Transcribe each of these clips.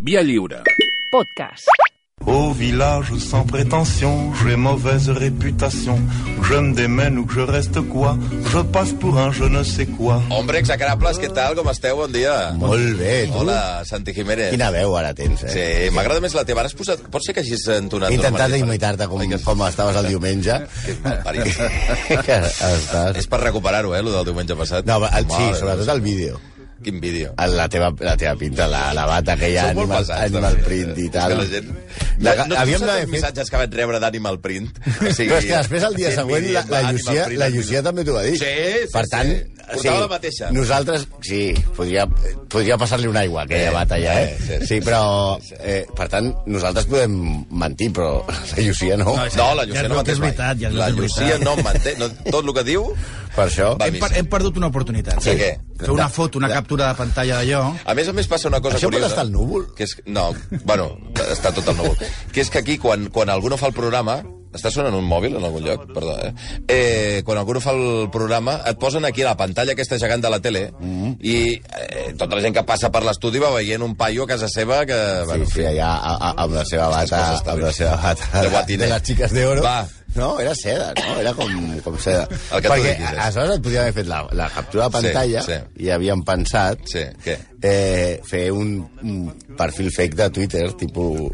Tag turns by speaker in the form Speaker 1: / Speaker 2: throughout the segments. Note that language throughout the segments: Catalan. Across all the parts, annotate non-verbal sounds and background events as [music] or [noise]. Speaker 1: Via lliure.
Speaker 2: Podcast.
Speaker 3: Au village sans prétention, j'ai mauvaise réputation. Je me démène ou que je reste quoi Je passe pour un je ne sais quoi.
Speaker 4: Hombre, exacrables, què tal? Com esteu? Bon dia.
Speaker 5: Molt bé, tu.
Speaker 4: Hola, Santi Jiménez.
Speaker 5: Quina veu ara tens, eh?
Speaker 4: Sí, m'agrada més la teva. Ara has posat... Pot ser que hagis entonat...
Speaker 5: He intentat
Speaker 4: d'una manera
Speaker 5: imitar-te com,
Speaker 4: Ai, que-
Speaker 5: com estaves el diumenge.
Speaker 4: [laughs] que mal parit.
Speaker 5: que estàs...
Speaker 4: És per recuperar-ho, eh, el del diumenge passat.
Speaker 5: No, el, sí,
Speaker 4: Mare
Speaker 5: sobretot el vídeo.
Speaker 4: meva, Quin vídeo.
Speaker 5: El- La teva, la teva pinta, la, la bata aquella
Speaker 4: Són molt
Speaker 5: animal,
Speaker 4: pesats,
Speaker 5: animal
Speaker 4: també.
Speaker 5: print i
Speaker 4: És
Speaker 5: tal.
Speaker 4: que La gent...
Speaker 5: La,
Speaker 4: no, no
Speaker 5: havíem
Speaker 4: havíem de
Speaker 5: d'haver
Speaker 4: fet...
Speaker 5: [laughs] fet...
Speaker 4: missatges que vaig rebre d'Animal Print. O
Speaker 5: [laughs] Però és que després, el dia
Speaker 4: fent
Speaker 5: següent, la,
Speaker 4: vídeos
Speaker 5: la,
Speaker 4: d'Animal
Speaker 5: Llucia,
Speaker 4: Print,
Speaker 5: la
Speaker 4: Animal
Speaker 5: Llucia també t'ho va dir.
Speaker 4: Sí, sí,
Speaker 5: per
Speaker 4: sí.
Speaker 5: tant,
Speaker 4: Portava la mateixa.
Speaker 5: Nosaltres, sí, podria, podria passar-li una aigua, aquella
Speaker 4: Eh,
Speaker 5: bata ja, eh?
Speaker 4: eh, sí,
Speaker 5: Sí, però, eh, per tant, nosaltres podem mentir, però la Llucia no.
Speaker 4: No, la Llucia
Speaker 6: Ja
Speaker 4: no
Speaker 6: es veu que
Speaker 4: menteix
Speaker 6: és
Speaker 4: mai.
Speaker 6: veritat, ja es veu
Speaker 4: la
Speaker 6: que és
Speaker 4: Llucia
Speaker 6: veritat.
Speaker 4: no manté... No, tot el que diu...
Speaker 5: Per això...
Speaker 4: Va,
Speaker 6: Hem, per,
Speaker 4: missa.
Speaker 6: hem perdut una oportunitat.
Speaker 4: Sí, què?
Speaker 6: Fer una foto, una captura de pantalla d'allò...
Speaker 4: A més a més passa una cosa
Speaker 5: Això pot
Speaker 4: curiosa.
Speaker 5: estar al núvol?
Speaker 4: Que és, no, bueno, està tot al núvol. que és que aquí, quan, quan algú no fa el programa... Està sonant un mòbil en algun lloc? Perdó, eh? eh quan algú no fa el programa, et posen aquí a la pantalla aquesta gegant de la tele
Speaker 5: Mm-hmm.
Speaker 4: mm -hmm. i eh, tota la gent que passa per l'estudi va veient un paio a casa seva que...
Speaker 5: Sí, sí, allà a, a, amb la seva bata,
Speaker 4: coses també.
Speaker 5: amb la seva bata
Speaker 4: De guatiner.
Speaker 5: les xiques d'oro.
Speaker 4: Va.
Speaker 5: No, era seda, no? Era com, com seda.
Speaker 4: El que tu
Speaker 5: Perquè
Speaker 4: diguis, eh?
Speaker 5: a- aleshores et podíem haver fet la, la captura de
Speaker 4: Sí,
Speaker 5: pantalla
Speaker 4: sí.
Speaker 5: i havíem pensat
Speaker 4: Sí, què?
Speaker 5: eh, fer un, un perfil fake de Twitter, tipus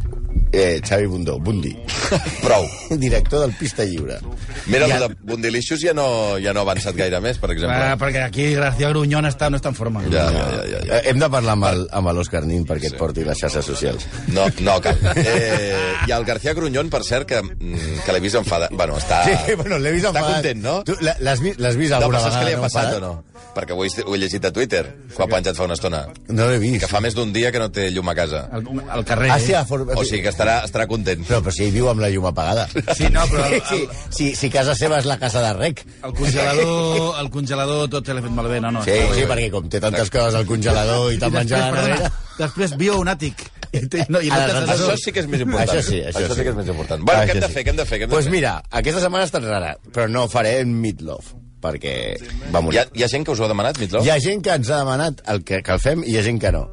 Speaker 5: eh, Xavi Bundó, Bundi,
Speaker 4: [laughs] Prou.
Speaker 5: [laughs] director del Pista Lliure.
Speaker 4: Mira,
Speaker 5: I
Speaker 4: ja.
Speaker 5: a-
Speaker 4: de Bundilicious ja no, ja no ha avançat gaire més, per exemple.
Speaker 6: Ah, perquè aquí García Grunyón està, no està en forma.
Speaker 4: Ja, ja, ja, ja, ja.
Speaker 5: Eh, Hem de parlar amb el- amb l'Òscar Nin perquè et porti les xarxes socials.
Speaker 4: No, no cal. Eh, I el García Grunyón, per cert, que, mm, que l'he vist enfadat. Bueno, està...
Speaker 5: Sí, [laughs] bueno, l'he vist
Speaker 4: Ah. Està
Speaker 5: enfadat.
Speaker 4: content, no?
Speaker 5: Tu l'ha- l'has vist, l'has vist
Speaker 4: No,
Speaker 5: alguna
Speaker 4: però saps
Speaker 5: vegada?
Speaker 4: què li ha passat o
Speaker 5: enfadat?
Speaker 4: no? Perquè ho he, ho he llegit a Twitter, ho ha penjat fa una estona.
Speaker 5: No l'he vist.
Speaker 4: Que fa més d'un dia que no té llum a casa.
Speaker 6: Al, al carrer.
Speaker 5: Ah, sí,
Speaker 6: eh?
Speaker 5: a for...
Speaker 4: O sigui que estarà, estarà content.
Speaker 5: Però, però si ell viu amb la llum apagada.
Speaker 6: Sí, no, però el-
Speaker 5: Sí, sí, si casa seva és la casa de rec.
Speaker 6: El congelador, el congelador tot se l'ha fet malbé, no, no.
Speaker 5: Sí, sí, perquè com té tantes coses al eh? congelador i
Speaker 6: I
Speaker 5: te'n menja la
Speaker 6: després,
Speaker 4: [laughs]
Speaker 5: nevera...
Speaker 6: perdona, després viu un àtic. I, té- no, i no
Speaker 5: Ara,
Speaker 6: té
Speaker 5: doncs,
Speaker 6: assessor.
Speaker 4: Això sí que és més important.
Speaker 5: Això sí, això,
Speaker 4: sí. que és més important. Bueno,
Speaker 5: Això
Speaker 4: què hem de
Speaker 5: sí.
Speaker 4: fer, què hem de fer? Què hem de
Speaker 5: Doncs
Speaker 4: fer?
Speaker 5: mira, aquesta setmana està rara, però no faré meatloaf, perquè va
Speaker 4: Hi ha,
Speaker 5: morir.
Speaker 4: hi ha gent que us ho ha demanat, Mitló?
Speaker 5: Hi ha gent que ens ha demanat el que, que el fem i hi ha gent que no.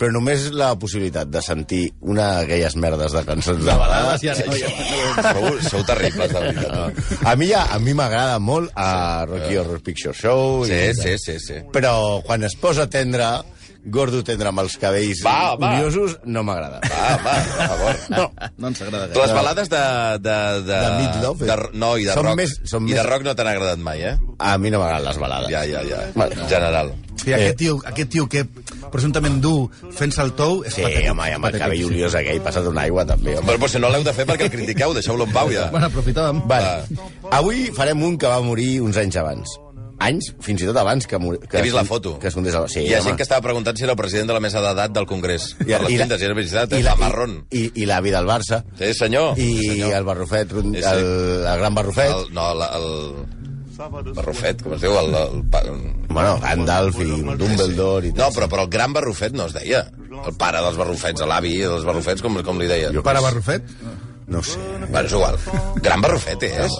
Speaker 5: Però només la possibilitat de sentir una d'aquelles merdes de cançons de balada...
Speaker 6: Ja, no, ja,
Speaker 4: Sou, sou terribles, de veritat.
Speaker 5: A mi ja, a mi m'agrada molt a Rocky Horror Picture Show... i
Speaker 4: Sí,
Speaker 5: tot
Speaker 4: sí, sí, sí.
Speaker 5: però quan es posa tendre, gordo tendre amb els cabells
Speaker 4: Va, va.
Speaker 5: curiosos, no m'agrada.
Speaker 4: Va, va, per favor.
Speaker 5: No.
Speaker 6: no ens agrada gaire.
Speaker 4: Les balades de... De, de,
Speaker 5: De Meatloaf, eh?
Speaker 4: de no, i de
Speaker 5: Són
Speaker 4: rock.
Speaker 5: més- són
Speaker 4: I de
Speaker 5: més-
Speaker 4: rock no t'han agradat mai, eh?
Speaker 5: A mi no m'agraden les balades.
Speaker 4: Ja, ja, ja.
Speaker 5: Vale.
Speaker 4: En general.
Speaker 6: Sí, aquest, tio, aquest tio que presumptament du fent el tou és
Speaker 5: Sí,
Speaker 6: patètic.
Speaker 5: home, i amb el
Speaker 6: patètic,
Speaker 5: cabell
Speaker 6: sí.
Speaker 5: oliós aquell, passat una aigua, també. Home.
Speaker 4: Però, però si no l'heu de fer perquè el critiqueu, deixeu-lo en pau, ja.
Speaker 6: Bueno, aprofitàvem.
Speaker 5: Vale. Avui farem un que va morir uns anys abans. Anys, fins i tot abans que... Mor... que
Speaker 4: He vist la foto.
Speaker 5: Que es condés a... Sí,
Speaker 4: Hi ha
Speaker 5: home.
Speaker 4: gent que estava preguntant si era el president de la mesa d'edat del Congrés. I, per les
Speaker 5: la-
Speaker 4: tintes, era veritat,
Speaker 5: i
Speaker 4: eh?
Speaker 5: la-
Speaker 4: la marrón.
Speaker 5: I, i, i l'avi del Barça.
Speaker 4: Sí, senyor.
Speaker 5: I
Speaker 4: Sí, senyor.
Speaker 5: el Barrufet, el,
Speaker 4: Sí, sí.
Speaker 5: el, gran Barrufet.
Speaker 4: El, no, la- el... Barrufet, com es diu? El, el, pa-
Speaker 5: Bueno, Gandalf i Dumbledore i
Speaker 4: No, però, però el gran Barrufet no es deia. El pare dels Barrufets, l'avi dels Barrufets, com, com li deien. Jo...
Speaker 6: Pare Barrufet?
Speaker 5: No ho sé.
Speaker 4: Bueno, és igual. Gran Barrufet, eh, és?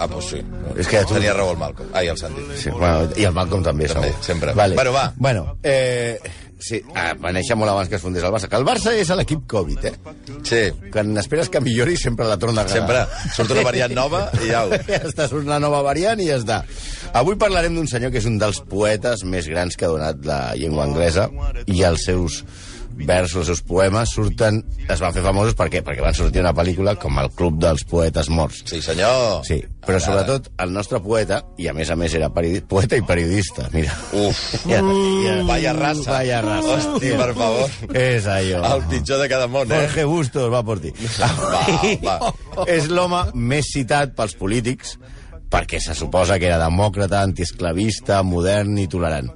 Speaker 4: Ah, doncs sí.
Speaker 5: És que tu-
Speaker 4: Tenia raó el Malcolm. Ai, el Santi.
Speaker 5: Sí, bueno, I el Malcolm també,
Speaker 4: També,
Speaker 5: segur.
Speaker 4: sempre.
Speaker 5: Vale.
Speaker 4: Bueno, va.
Speaker 5: Bueno, eh, sí, ah, va néixer molt abans que es fundés el Barça. Que el Barça és a l'equip Covid, eh?
Speaker 4: Sí,
Speaker 5: Quan esperes que millori sempre la torna a
Speaker 4: sempre
Speaker 5: agradar.
Speaker 4: surt una
Speaker 5: [laughs]
Speaker 4: variant nova i au.
Speaker 5: Ja està, surt una nova variant i ja està. Avui parlarem d'un senyor que és un dels poetes més grans que ha donat la llengua anglesa i els seus versos, els seus poemes surten... Es van fer famosos per què? Perquè van sortir una pel·lícula com el Club dels Poetes Morts.
Speaker 4: Sí, senyor.
Speaker 5: Sí, però sobretot el nostre poeta, i a més a més era periodi- poeta i periodista, mira.
Speaker 4: Uf.
Speaker 5: Ja, ja.
Speaker 4: Vaya raza.
Speaker 5: Vaya raza.
Speaker 4: Hosti, per favor.
Speaker 5: És allò.
Speaker 4: El pitjor de cada món, eh?
Speaker 5: Jorge Bustos va por ti.
Speaker 4: Va, va.
Speaker 5: És l'home més citat pels polítics perquè se suposa que era demòcrata, antiesclavista, modern i tolerant.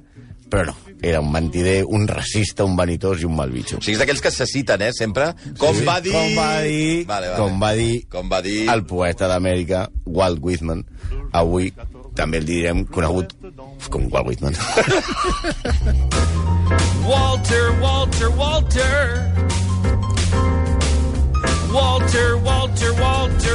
Speaker 5: Però no, era un mentider, un racista, un vanitós i un mal bitxo.
Speaker 4: O sigui, és d'aquells que se citen, eh, sempre. Com
Speaker 5: Sí, sí.
Speaker 4: va dir...
Speaker 5: Com va dir-
Speaker 4: Vale, vale.
Speaker 5: com va dir-
Speaker 4: Com va dir...
Speaker 5: El poeta d'Amèrica, Walt Whitman, avui també el direm conegut com Walt Whitman.
Speaker 7: Walter, Walter, Walter. Walter, Walter,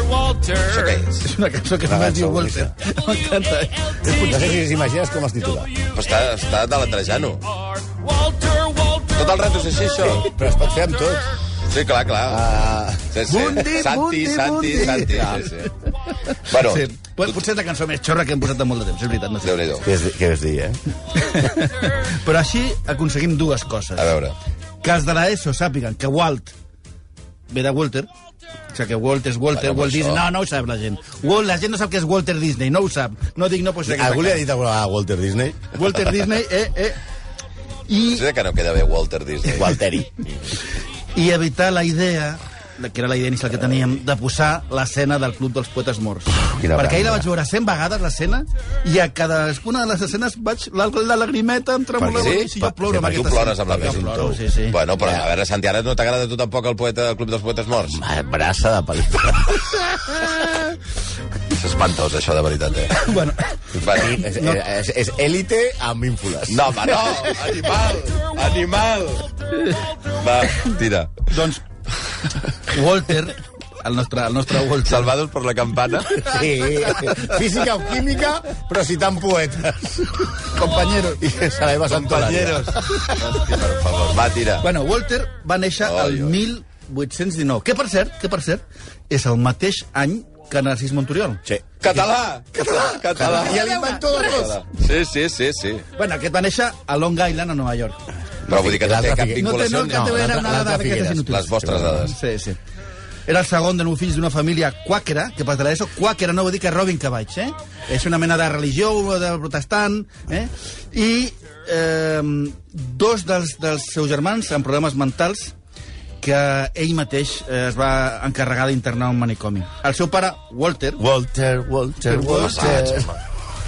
Speaker 7: Walter,
Speaker 4: Això què
Speaker 7: Walter.
Speaker 4: és?
Speaker 6: És una cançó que només diu
Speaker 5: [laughs]
Speaker 6: Walter. M'encanta.
Speaker 5: No sé si us imagines com es titula.
Speaker 4: Però està, està de l'entrejano.
Speaker 7: Walter, Walter,
Speaker 4: Tot el rato és així, això.
Speaker 5: Però es pot fer amb tot.
Speaker 4: Sí, clar, clar.
Speaker 5: Ah,
Speaker 4: Sí, sí.
Speaker 6: Bundi,
Speaker 4: Santi,
Speaker 6: bundi,
Speaker 4: Santi,
Speaker 6: bundi.
Speaker 4: Santi, sí, sí. Bueno,
Speaker 6: Sí. Pot- Potser és la cançó més xorra que hem posat de molt de temps, és veritat. No sé.
Speaker 4: Déu-n'hi-do.
Speaker 5: què, és, què és dir, eh?
Speaker 6: Però així aconseguim dues coses.
Speaker 4: A veure.
Speaker 6: Que els de l'ESO sàpiguen que Walt ve de Walter, o sigui que Walt és Walter,
Speaker 4: Bueno,
Speaker 6: Walt
Speaker 4: però
Speaker 6: Disney...
Speaker 4: això-
Speaker 6: No, no ho sap la gent. Walt, la gent no sap què és Walter Disney, no ho sap. No dic, no pot ser
Speaker 5: Algú li
Speaker 6: que...
Speaker 5: ha dit alguna vegada a Walter Disney?
Speaker 6: Walter Disney, eh, eh... I
Speaker 4: Sí que no queda bé Walter Disney.
Speaker 5: Walteri.
Speaker 6: i evitar la idea que era la idea inicial que teníem, de posar l'escena del Club dels Poetes Morts.
Speaker 5: quina
Speaker 6: Perquè ahir la
Speaker 5: branda.
Speaker 6: vaig veure 100 vegades, l'escena, i a cadascuna de les escenes vaig... La, la lagrimeta em tremolava.
Speaker 5: Perquè sí?
Speaker 6: si jo ploro amb
Speaker 5: Perquè
Speaker 6: aquesta
Speaker 4: tu plores
Speaker 6: escena.
Speaker 4: amb la
Speaker 6: Perquè
Speaker 4: Mary
Speaker 6: jo ploro,
Speaker 5: Sue.
Speaker 6: sí, sí.
Speaker 4: Bueno, però a veure, Santi, ara no t'agrada a tu tampoc el poeta del Club dels Poetes Morts?
Speaker 5: Brassa de pel·lícula.
Speaker 4: És espantós, això, de veritat,
Speaker 5: [laughs]
Speaker 4: eh?
Speaker 6: Bueno,
Speaker 4: Bueno,
Speaker 5: És, és, és élite amb ínfules.
Speaker 4: no, home, no! Animal! Animal! Va, tira.
Speaker 6: doncs, Walter, el nostre, el nostre Walter...
Speaker 4: Salvados per la campana.
Speaker 5: Sí. Física o química, però citant poetes. Compañeros. I Saraiva Santolària.
Speaker 4: Compañeros. Hòstia, per favor. Va, tira.
Speaker 6: Bueno, Walter va néixer
Speaker 4: Oi,
Speaker 6: al
Speaker 4: oi.
Speaker 6: 1819, que per cert, que per cert, és el mateix any que Narcís Montoriol.
Speaker 5: Sí.
Speaker 4: Català! Català! Català!
Speaker 5: I l'inventor de tots.
Speaker 4: Sí, sí, sí, sí.
Speaker 6: Bueno, aquest va néixer a Long Island, a Nova York.
Speaker 4: Però vull dir que no té
Speaker 5: L'altra
Speaker 4: cap
Speaker 5: figue-
Speaker 6: No té
Speaker 4: vinculació.
Speaker 6: no, que té
Speaker 5: l'altra-
Speaker 6: una dada
Speaker 5: l'altra
Speaker 6: d'aquestes
Speaker 5: Figueres,
Speaker 6: inútils.
Speaker 4: Les vostres dades.
Speaker 6: Sí, sí. Era el segon de nou fills d'una família quàquera, que per l'ESO quàquera no vol dir que robin cavalls, eh? És una mena de religió, de protestant, eh? I eh, dos dels, dels seus germans amb problemes mentals que ell mateix eh, es va encarregar d'internar a un manicomi. El seu pare, Walter,
Speaker 5: Walter, Walter, Walter.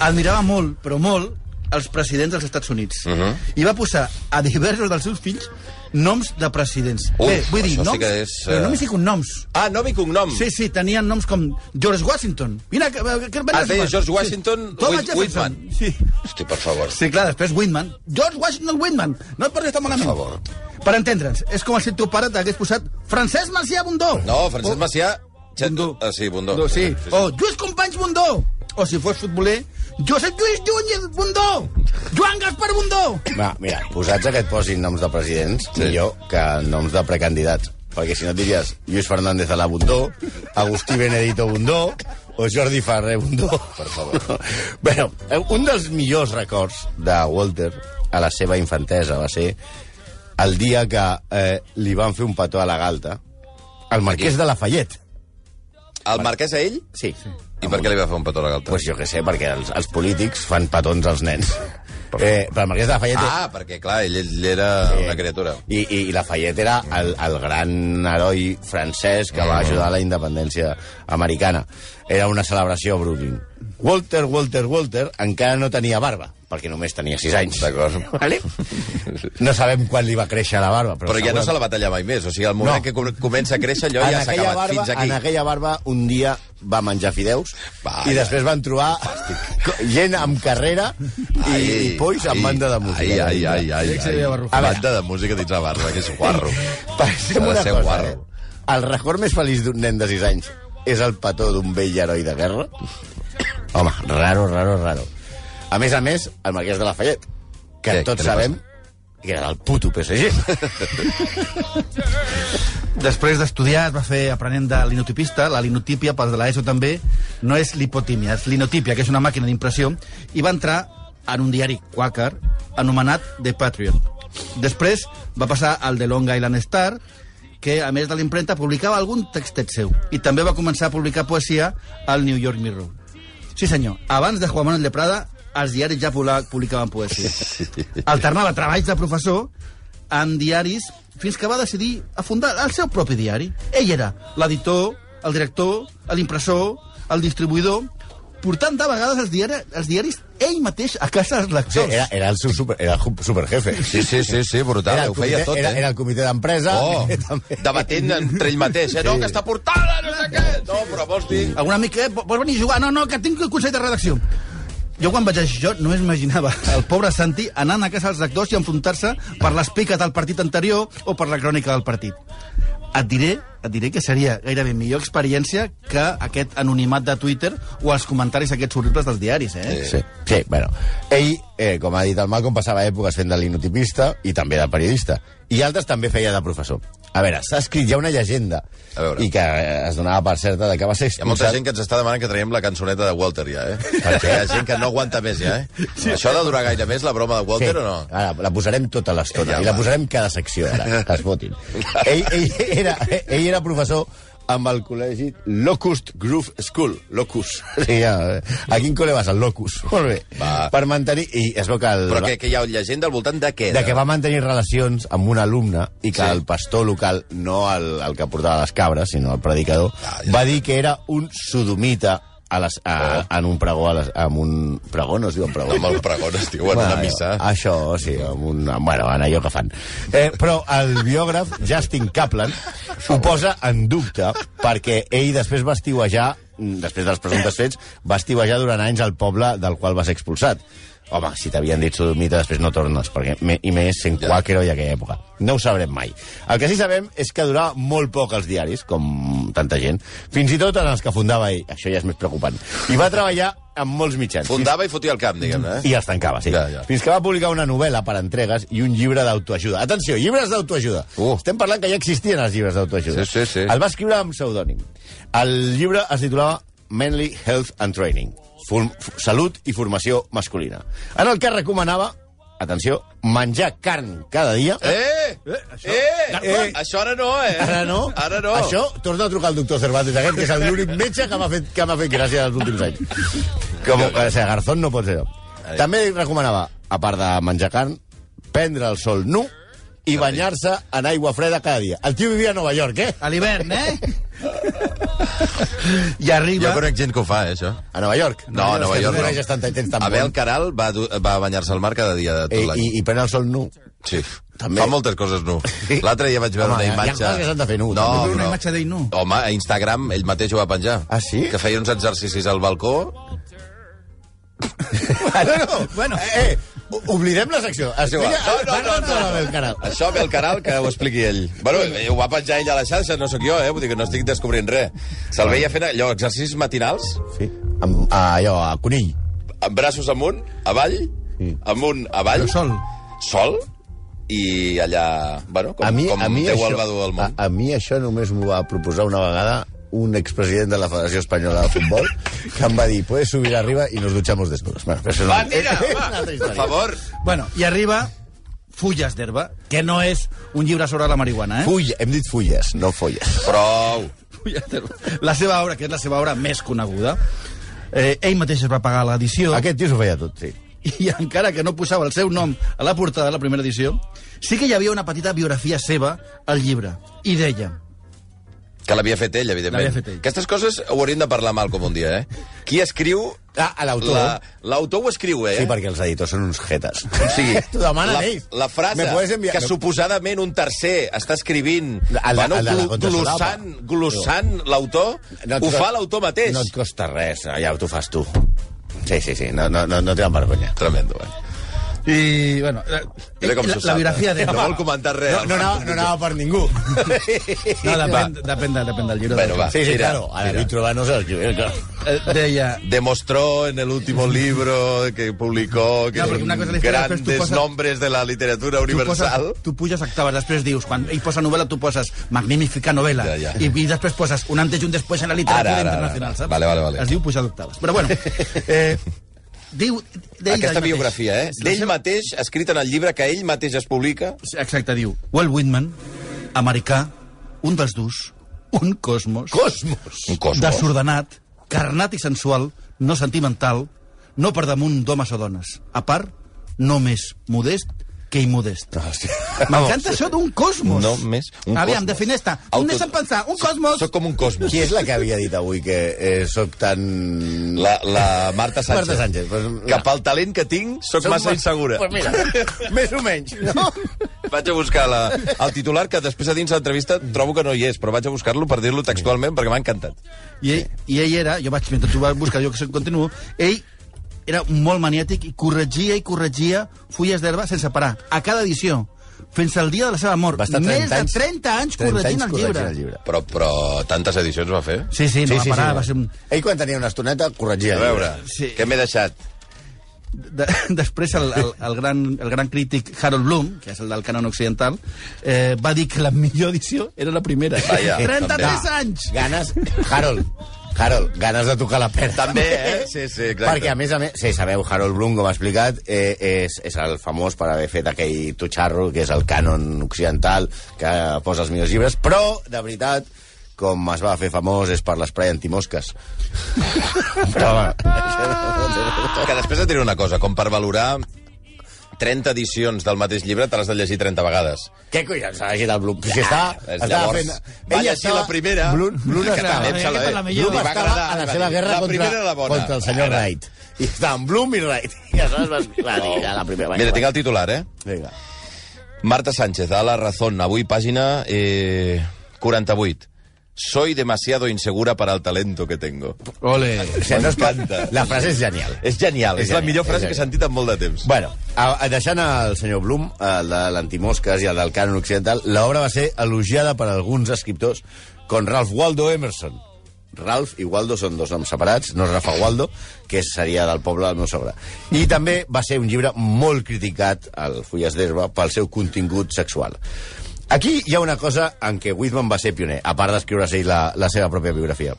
Speaker 6: admirava molt, però molt, els presidents dels Estats Units. Uh
Speaker 4: Mhm.
Speaker 6: -huh. I va posar a diversos dels seus fills noms de presidents.
Speaker 4: Uf,
Speaker 6: Bé, vull dir,
Speaker 4: això sí
Speaker 6: noms,
Speaker 4: que és, eh,
Speaker 6: però només hi cognoms.
Speaker 4: Ah, nom i cognom.
Speaker 6: Sí, sí, tenien noms com George Washington. Vine, que, que, que
Speaker 4: Ah, es deia George Washington
Speaker 6: sí. Thomas
Speaker 4: Whit-
Speaker 6: Jefferson.
Speaker 4: Whitman.
Speaker 6: Sí.
Speaker 4: Hosti, per favor.
Speaker 6: sí, clar, després Whitman. George Washington Whitman. No et parlis tan malament.
Speaker 4: favor.
Speaker 6: Per entendre'ns, és com si el teu pare t'hagués posat Francesc Macià Bundó.
Speaker 4: No, Francesc
Speaker 6: O-
Speaker 4: Macià...
Speaker 6: Oh. Bundó.
Speaker 4: Ah, sí, Bundó.
Speaker 6: No, sí. Oh. O Lluís Companys Bundó. O si fos futboler, Josep Lluís Lluny Bundó. Joan Gaspar Bundó.
Speaker 5: Va, mira, posats a que et posin noms de presidents, sí. millor que noms de precandidats. Perquè si no et diries Lluís Fernández a la Bundó, Agustí Benedito Bundó o Jordi Ferrer Bundó. Per favor. [laughs] bueno, eh, un dels millors records de Walter a la seva infantesa va ser el dia que eh, li van fer un petó a la galta al marquès de Lafayette.
Speaker 4: El marquès a ell?
Speaker 5: Sí.
Speaker 4: I per què li va fer un petó a la galta?
Speaker 5: Pues jo que sé, perquè els, els polítics fan petons als nens. Eh, però el marquès de Lafayette
Speaker 4: Ah, perquè, clar, ell, ell era una criatura.
Speaker 5: I, i, i Lafayette era el, el gran heroi francès que
Speaker 4: Mm.
Speaker 5: va ajudar a la independència americana. Era una celebració a Brooklyn. Walter, Walter, Walter encara no tenia barba, perquè només tenia 6 anys.
Speaker 4: D'acord.
Speaker 5: Vale? No sabem quan li va créixer la barba. Però,
Speaker 4: Però ja no se
Speaker 5: segurament-
Speaker 4: la va tallar mai més. O sigui, el moment
Speaker 5: No.
Speaker 4: que com- comença a créixer, allò ja
Speaker 5: en
Speaker 4: s'ha
Speaker 5: aquella
Speaker 4: acabat
Speaker 5: barba,
Speaker 4: fins aquí.
Speaker 5: En aquella barba un dia va menjar fideus
Speaker 4: Vaja.
Speaker 5: i després van trobar gent amb carrera i, i polls amb banda de música.
Speaker 4: Ai, ai, ai, ai,
Speaker 6: Sí, sí,
Speaker 4: ai.
Speaker 6: ja va
Speaker 4: A
Speaker 6: arrufar.
Speaker 4: banda de música dins la barba, que és guarro.
Speaker 5: Pensem
Speaker 4: Ha de
Speaker 5: una
Speaker 4: ser
Speaker 5: cosa,
Speaker 4: guarro.
Speaker 5: eh? El record més feliç d'un nen de 6 anys és el petó d'un vell heroi de guerra? Home, raro, raro, raro. A més a més, el marquès de Lafayette, que
Speaker 4: Què?
Speaker 5: tots
Speaker 4: Què li
Speaker 5: sabem que era el puto PSG.
Speaker 6: Després d'estudiar es va fer aprenent de linotipista, la linotípia, pels de l'ESO també, no és lipotímia, és linotípia, que és una màquina d'impressió, i va entrar en un diari quàquer anomenat The Patriot. Després va passar al The Long Island Star, que a més de l'impremta publicava algun textet seu, i també va començar a publicar poesia al New York Mirror. Sí senyor, abans de Juan Manuel de Prada, els diaris ja pula- publicaven poesia. Alternava treballs de professor amb diaris fins que va decidir a fundar el seu propi diari. Ell era l'editor, el director, l'impressor, el distribuïdor, portant de vegades els diaris, els diaris ell mateix a casa dels
Speaker 5: Sí,
Speaker 6: lectors.
Speaker 5: era, era el seu super, era el ju- superjefe.
Speaker 4: Sí, sí, sí, sí, brutal.
Speaker 5: Era el
Speaker 4: Ho feia
Speaker 5: comitè,
Speaker 4: tot,
Speaker 5: era,
Speaker 4: eh?
Speaker 5: era el comitè d'empresa.
Speaker 4: Oh,
Speaker 5: que [laughs] també-
Speaker 4: debatent entre ell mateix, eh? No, que està portada, no sé què. No, però vols dir...
Speaker 6: Algun amic, eh, vols venir a jugar? No, no, que tinc el consell de redacció. Jo quan vaig llegir això només imaginava el pobre Santi anant a casa dels actors i enfrontar-se per les piques del partit anterior o per la crònica del partit. Et diré et diré que seria gairebé millor experiència que aquest anonimat de Twitter o els comentaris aquests horribles dels diaris, eh?
Speaker 5: Sí, sí bueno. Ell, eh, com ha dit el Malcolm, passava èpoques fent de linotipista i també de periodista. I altres també feia de professor. A veure, s'ha escrit ja una llegenda
Speaker 4: A veure.
Speaker 5: i que eh, es donava per certa de que va ser
Speaker 4: Hi ha molta
Speaker 5: expulsat...
Speaker 4: gent que ens està demanant que traiem la cançoneta de Walter ja, eh? Perquè hi ha gent que no aguanta més ja, eh? Això ha de durar gaire més, la broma de Walter, o no?
Speaker 5: Ara, la posarem tota l'estona
Speaker 4: Ja,
Speaker 5: i la
Speaker 4: va.
Speaker 5: posarem cada secció, ara, que es
Speaker 4: [laughs]
Speaker 5: votin. ell, ell, era, ell era professor amb el col·legi Locust Grove School. Locust. Sí, ja. eh. A quin col·le vas? Al Locust. Molt bé.
Speaker 4: Va.
Speaker 5: Per mantenir... I es veu que... El,
Speaker 4: Però que, que hi ha llegenda al voltant de què?
Speaker 5: de que va mantenir relacions amb un alumne i que
Speaker 4: Sí.
Speaker 5: sí. el pastor local, no el, el que portava les cabres, sinó el predicador,
Speaker 4: Ah,
Speaker 5: ah,
Speaker 4: ja.
Speaker 5: ja. va dir que era un sodomita a les, a,
Speaker 4: Oh.
Speaker 5: en un pregó, a les, en un pregó, no es diu
Speaker 4: [laughs]
Speaker 5: pregó.
Speaker 4: Amb el pregón, es diu, en una missa.
Speaker 5: Això, sí, amb un, bueno, en allò que fan. Eh, però el biògraf Justin Kaplan ho posa en dubte perquè ell després va estiuejar, mm, després dels presumptes fets, va estiuejar durant anys al poble del qual va ser expulsat. Home, si t'havien dit sodomita, després no tornes, perquè, me- i més sent
Speaker 4: Ja.
Speaker 5: quàquero i aquella època. No ho sabrem mai. El que sí sabem és que durava molt poc als diaris, com tanta gent, fins i tot en els que fundava ell. Això ja és més preocupant. I va treballar en molts mitjans. Fins
Speaker 4: Fundava i fotia el camp, diguem-ne, eh?
Speaker 5: i els tancava, sí.
Speaker 4: Ja, ja.
Speaker 5: Fins que va publicar una novel·la per entregues i un llibre d'autoajuda. Atenció, llibres d'autoajuda.
Speaker 4: Uh.
Speaker 5: Estem parlant que ja existien els llibres d'autoajuda.
Speaker 4: Sí, sí, sí.
Speaker 5: El va escriure amb pseudònim. El llibre es titulava Manly Health and Training. Form salut i formació masculina. En el que recomanava, atenció, menjar carn cada dia...
Speaker 4: Eh! Eh! Eh! eh! Això ara no, eh?
Speaker 5: Ara no.
Speaker 4: Ara no.
Speaker 5: Això, torna a trucar al doctor Cervantes, aquest, que és l'únic metge que m'ha fet, que m'ha fet gràcia els últims anys. Com, o sea, Garzón no pot ser.
Speaker 4: Ai.
Speaker 5: També li recomanava, a part de menjar carn, prendre el sol nu i banyar-se en aigua freda cada dia. El tio vivia a Nova York, eh?
Speaker 6: A
Speaker 4: [laughs]
Speaker 6: l'hivern, eh? I
Speaker 4: Jo
Speaker 6: arriba...
Speaker 4: conec gent que ho fa, eh, això.
Speaker 5: A Nova York.
Speaker 4: No, a Nova
Speaker 5: és que tu
Speaker 4: York no.
Speaker 5: coneixes tanta i tens tan
Speaker 4: Abel
Speaker 5: bon.
Speaker 4: Caral va, du- va banyar-se al mar cada dia de
Speaker 5: I,
Speaker 4: tot l'any.
Speaker 5: Eh, i, I prendre el sol nu.
Speaker 4: Sí. També.
Speaker 5: També.
Speaker 4: Fa moltes coses nu. L'altre dia vaig veure
Speaker 5: Home,
Speaker 4: una
Speaker 5: hi ha- hi ha
Speaker 4: imatge...
Speaker 5: coses que s'han de fer nu,
Speaker 4: No,
Speaker 5: també.
Speaker 6: Veure
Speaker 5: [laughs]
Speaker 6: una
Speaker 4: però-
Speaker 6: imatge d'ell nu.
Speaker 4: Home, a Instagram ell mateix ho va penjar.
Speaker 5: Ah, sí?
Speaker 4: Que feia uns exercicis al balcó.
Speaker 5: no, no.
Speaker 6: Bueno.
Speaker 5: Eh, eh, o- oblidem la secció. Explica,
Speaker 4: igual. No, no, no,
Speaker 5: parla'ns de
Speaker 4: no.
Speaker 5: l'Abel Caral.
Speaker 4: Això ve el canal que ho expliqui ell. Bueno, eh, ho va penjar ell a la xarxa, no sóc jo, eh? Vull dir que no estic descobrint res. Se'l veia fent allò, exercicis matinals,
Speaker 5: Sí. Amb, a, allò, a Conill.
Speaker 4: amb braços amunt, avall,
Speaker 5: Mm.
Speaker 4: amunt, avall.
Speaker 6: Però sol.
Speaker 4: Sol, i allà, bueno, com,
Speaker 5: a mi,
Speaker 4: com
Speaker 5: a mi
Speaker 4: Déu
Speaker 5: això,
Speaker 4: el va dur al món.
Speaker 5: A, a mi això només m'ho va proposar una vegada un expresident de la Federació Espanyola de Futbol que em va dir, puedes subir arriba y nos duchamos desnudos. Bueno, però això
Speaker 4: Va,
Speaker 6: Eh,
Speaker 5: no-
Speaker 4: tira,
Speaker 5: [laughs] és una
Speaker 4: va,
Speaker 5: altra
Speaker 4: per
Speaker 5: història.
Speaker 4: favor.
Speaker 6: Bueno, i arriba Fulles d'herba, que no és un llibre sobre la marihuana, eh?
Speaker 5: Full, hem dit fulles, no folles.
Speaker 4: Prou.
Speaker 6: Fulles d'herba. La seva obra, que és la seva obra més coneguda, eh, ell mateix es va pagar l'edició
Speaker 5: Aquest tio s'ho feia tot, sí.
Speaker 6: [laughs] i encara que no posava el seu nom a la portada de la primera edició, sí que hi havia una petita biografia seva al llibre, i deia...
Speaker 4: Que l'havia fet ell, evidentment.
Speaker 6: L'havia fet ell.
Speaker 4: Aquestes coses ho hauríem de parlar mal com un dia, eh? Qui escriu...
Speaker 5: Ah, a l'autor.
Speaker 4: la- L'autor ho escriu, eh?
Speaker 5: Sí, perquè els editors són uns jetes.
Speaker 4: O sigui,
Speaker 5: [laughs] T'ho demanen
Speaker 4: la,
Speaker 5: ells.
Speaker 4: la frase
Speaker 5: Me puedes enviar...
Speaker 4: que
Speaker 5: me-
Speaker 4: suposadament un tercer està escrivint,
Speaker 5: El de-
Speaker 4: bueno,
Speaker 5: el de la
Speaker 4: glu-
Speaker 5: contrasolapa.
Speaker 4: glossant, glossant l'autor,
Speaker 5: No et
Speaker 4: ho
Speaker 5: costa-
Speaker 4: fa l'autor mateix.
Speaker 5: No et costa res, ja t'ho fas tu. Sí, sí, sí, no, no, no, no té vergonya.
Speaker 4: Tremendo, eh?
Speaker 6: I, bueno, eh,
Speaker 4: Mira com
Speaker 6: la,
Speaker 4: s'ho
Speaker 6: la
Speaker 4: sap,
Speaker 6: biografia
Speaker 4: eh?
Speaker 6: d'herba...
Speaker 4: No vol comentar res.
Speaker 5: No, no, anava, no anava per [laughs] ningú.
Speaker 6: No, depèn, depèn, de, depèn del llibre.
Speaker 4: Bueno, va,
Speaker 5: Sí, sí,
Speaker 4: tira,
Speaker 5: claro. A
Speaker 4: tira.
Speaker 5: David Trobano se'l claro.
Speaker 6: Eh, deia...
Speaker 4: Demostró en el último libro que publicó que
Speaker 6: No,
Speaker 4: son
Speaker 6: perquè una cosa és la història, després tu
Speaker 4: grandes
Speaker 6: poses-
Speaker 4: nombres de la literatura universal.
Speaker 6: Tu, poses, tu puges octaves, després dius, quan ell posa novel·la, tu poses magnífica novel·la.
Speaker 4: Ja, ja.
Speaker 6: I, I després poses un antes i un després en la literatura
Speaker 4: Ara, ara, ara.
Speaker 6: internacional, saps?
Speaker 4: Vale, vale, vale.
Speaker 6: Es diu pujar d'octaves. Però
Speaker 4: [laughs]
Speaker 6: bueno, eh, diu... d'ell
Speaker 4: Aquesta
Speaker 6: mateix.
Speaker 4: biografia, eh?
Speaker 6: La
Speaker 4: D'ell
Speaker 6: seva-
Speaker 4: mateix, escrita en el llibre que ell mateix es publica.
Speaker 6: Exacte, diu, Walt Whitman, americà, un dels durs, un cosmos,
Speaker 5: Cosmos.
Speaker 4: Un cosmos. [laughs]
Speaker 6: desordenat, carnat i sensual, no sentimental, no per damunt d'homes o dones. A part, no més modest que immodest. M'encanta això d'un cosmos.
Speaker 4: No més, un
Speaker 6: Aviam,
Speaker 4: cosmos.
Speaker 6: defineix-te.
Speaker 4: Auto-
Speaker 6: Un deixa'm pensar, un cosmos.
Speaker 4: Soc com un cosmos.
Speaker 5: Qui és la que havia dit avui que eh, soc tan...
Speaker 4: La, la Marta Sánchez.
Speaker 5: Marta Sánchez, pues,
Speaker 4: que
Speaker 5: mira.
Speaker 4: pel talent que tinc, sóc
Speaker 5: Soc
Speaker 4: massa
Speaker 5: ma-
Speaker 4: insegura.
Speaker 5: Pues mira,
Speaker 4: [laughs]
Speaker 5: més o menys. No?
Speaker 4: Vaig a buscar la, el titular, que després a dins de l'entrevista trobo que no hi és, però vaig a buscar-lo per dir-lo textualment, perquè m'ha encantat.
Speaker 6: I, ell, I ell era, jo vaig, mentre tu vas buscar, jo que sé, continuo, ell era molt maniàtic i corregia i corregia fulles d'herba sense parar, a cada edició. fins al dia de la seva mort.
Speaker 5: Va estar 30
Speaker 6: Més
Speaker 5: anys-
Speaker 6: de 30
Speaker 5: 30
Speaker 6: anys corregint,
Speaker 5: anys
Speaker 6: el, llibre.
Speaker 5: corregint el llibre.
Speaker 4: Però, però tantes edicions va fer?
Speaker 6: Sí, sí, no va parar, va ser un...
Speaker 5: Ell quan tenia una estoneta corregia.
Speaker 4: A veure, sí.
Speaker 6: Sí.
Speaker 4: què m'he deixat?
Speaker 6: De, [laughs] després el, el, el, gran, el gran crític Harold Bloom, que és el del canon occidental, eh, va dir que la millor edició era la primera.
Speaker 4: Vaja,
Speaker 6: 33
Speaker 4: també.
Speaker 6: anys!
Speaker 5: Ganes... Harold, Harold, ganes de tocar la pera.
Speaker 4: També, eh? Sí, sí, exacte.
Speaker 5: Perquè, a més a més, sí, sabeu, Harold Bloom, com ha explicat, eh, és, és el famós per haver fet aquell tutxarro, que és el cànon occidental, que posa els millors llibres, però, de veritat, com es va fer famós és per l'esprai
Speaker 4: [laughs]
Speaker 5: antimosques. però, home,
Speaker 4: Que després et diré una cosa, com per valorar 30 edicions del mateix llibre te l'has de llegir 30 vegades.
Speaker 5: què collons ha llegit el Bloom? Si està,
Speaker 4: Llavors,
Speaker 5: estava fent...
Speaker 4: va
Speaker 5: ell
Speaker 4: llegir
Speaker 5: estava-
Speaker 4: la primera.
Speaker 5: Bloom, Bloom
Speaker 4: que
Speaker 5: estava...
Speaker 4: també em
Speaker 6: aquesta
Speaker 4: sembla
Speaker 6: és
Speaker 4: bé.
Speaker 6: la millor.
Speaker 5: Bloom
Speaker 4: Li va
Speaker 5: estava
Speaker 4: agradar,
Speaker 5: a la
Speaker 4: va
Speaker 5: seva
Speaker 4: dir,
Speaker 5: guerra
Speaker 4: la
Speaker 5: contra,
Speaker 4: primera era la bona.
Speaker 5: contra el senyor
Speaker 4: Ara.
Speaker 5: Wright. I estava amb Bloom i
Speaker 4: [laughs]
Speaker 5: Wright. I aleshores va, va dir a la primera.
Speaker 4: Mira, tinc el titular, eh?
Speaker 5: Vinga.
Speaker 4: Marta Sánchez, a La Razón, avui pàgina eh, 48. Soy demasiado insegura para el talento que tengo.
Speaker 6: Ole!
Speaker 5: O sigui, no es pot...
Speaker 4: M'encanta.
Speaker 5: La frase és genial.
Speaker 4: És genial, és, és
Speaker 5: És
Speaker 4: la
Speaker 5: genial,
Speaker 4: millor
Speaker 5: és
Speaker 4: frase que he
Speaker 5: genial.
Speaker 4: sentit en molt de temps.
Speaker 5: Bueno, a, a, deixant el senyor Blum, el de l'antimosques i el del cànon occidental, l'obra va ser elogiada per alguns escriptors com Ralph Waldo Emerson. Ralph i Waldo són dos noms separats, no és Rafa Waldo, que seria del poble del meu sobre. I també va ser un llibre molt criticat, el Fulles d'Herba, pel seu contingut sexual. Aquí hi ha una cosa en què Whitman va ser pioner, a part d'escriure-se ell la, la seva pròpia biografia.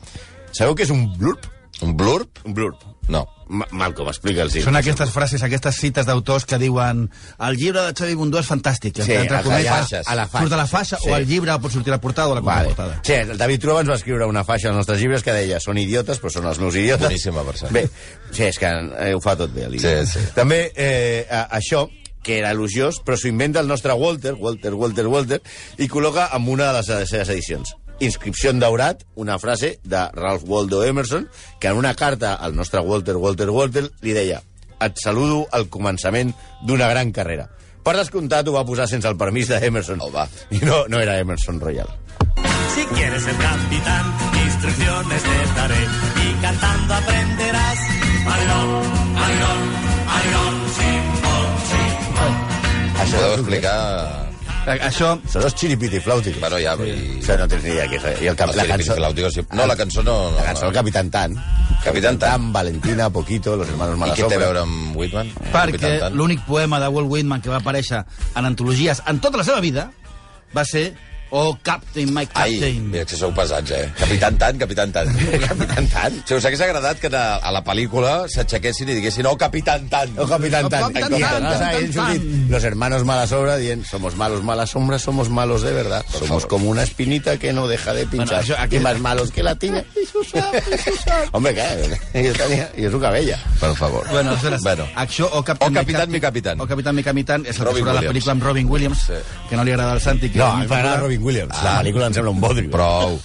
Speaker 5: Sabeu què és un blurb?
Speaker 4: Un blurb?
Speaker 5: Un blurb.
Speaker 4: No.
Speaker 5: Ma- Malcolm, explica'ls.
Speaker 6: Són aquestes frases, aquestes cites d'autors que diuen el llibre de Xavi Bundó és fantàstic.
Speaker 5: Sí,
Speaker 6: entre
Speaker 5: a la
Speaker 6: cometes,
Speaker 5: faixa, a la faixa.
Speaker 6: Surt a la faixa
Speaker 5: Sí.
Speaker 6: o el llibre pot sortir a la portada o a la
Speaker 5: Vale.
Speaker 6: contraportada.
Speaker 5: Sí, el David Trueba ens va escriure una faixa als nostres llibres que deia són idiotes, però són els meus idiotes.
Speaker 4: Boníssima persona.
Speaker 5: Bé, sí, és que eh, ho fa tot bé. l'Ili.
Speaker 4: Sí, sí.
Speaker 5: També eh, a- això, que era elogiós, però s'ho inventa el nostre Walter, Walter, Walter, Walter, i col·loca en una de les seves edicions. Inscripció en daurat, una frase de Ralph Waldo Emerson, que en una carta al nostre Walter, Walter, Walter, li deia et saludo al començament d'una gran carrera. Per descomptat ho va posar sense el permís d'Emerson.
Speaker 4: Oh, va.
Speaker 5: I no, no era Emerson Royal.
Speaker 1: Si quieres ser capitán, instrucciones te daré y cantando aprenderás. Ayrón, Ayrón, Ayrón, Chimbón, Chimbón.
Speaker 4: Això
Speaker 5: Això
Speaker 4: deu
Speaker 5: és el que-
Speaker 4: explicar...
Speaker 6: A- Això,
Speaker 5: Són els xiripitiflàutics.
Speaker 4: Bueno, ja... I...
Speaker 5: Això no tens ni idea què és. I el cap,
Speaker 4: Els
Speaker 5: la
Speaker 4: Filipins
Speaker 5: cançó...
Speaker 4: Filàuticos, sí. No, la cançó no... no,
Speaker 5: La cançó del
Speaker 4: no.
Speaker 5: Capitán Tan.
Speaker 4: Capitán Tan.
Speaker 5: Valentina, Poquito, Los Hermanos
Speaker 4: I què té a
Speaker 5: Malasombra.
Speaker 4: veure amb Whitman?
Speaker 6: perquè
Speaker 4: Capitán Tan?
Speaker 6: l'únic poema de Walt Whitman que va aparèixer en antologies en tota la seva vida va ser Oh, Captain, my
Speaker 4: Ai,
Speaker 6: Captain.
Speaker 4: mira que sou pesats, eh? Capitán Tan, Capitán
Speaker 5: [laughs]
Speaker 4: Tan. Capitán Tan? Si us hagués agradat que a, a la pel·lícula s'aixequessin i diguessin, oh, Capitán Tan.
Speaker 5: El Capitán
Speaker 6: El
Speaker 5: Tan.
Speaker 6: Capitán
Speaker 5: I
Speaker 6: Tan,
Speaker 5: entonces
Speaker 6: Tan,
Speaker 5: ahí
Speaker 6: Tan,
Speaker 5: surtin
Speaker 6: Tan.
Speaker 5: Los Hermanos Malasombra dient Somos malos, mala sombra, somos malos de verdad. Somos como una espinita que no deja de pinchar.
Speaker 6: això-
Speaker 5: Y más malos que la tiña. Hombre, claro. Yo tenía... Yo su cabella.
Speaker 4: Per favor.
Speaker 6: Bueno, aleshores,
Speaker 4: Bueno.
Speaker 6: Acció o Capitán,
Speaker 4: O Capitán, mi Capitán.
Speaker 6: O Capitán mi Capitán és el
Speaker 4: Robin
Speaker 6: que surt a la
Speaker 4: Williams.
Speaker 6: pel·lícula amb Robin Williams,
Speaker 4: Sí.
Speaker 6: que no li agrada al Santi. Que
Speaker 5: No,
Speaker 6: és
Speaker 5: a mi
Speaker 6: molt
Speaker 5: m'agrada
Speaker 6: popular.
Speaker 5: [laughs] Robin Williams. La pel·lícula em sembla un bodrio.
Speaker 4: Ah. Prou.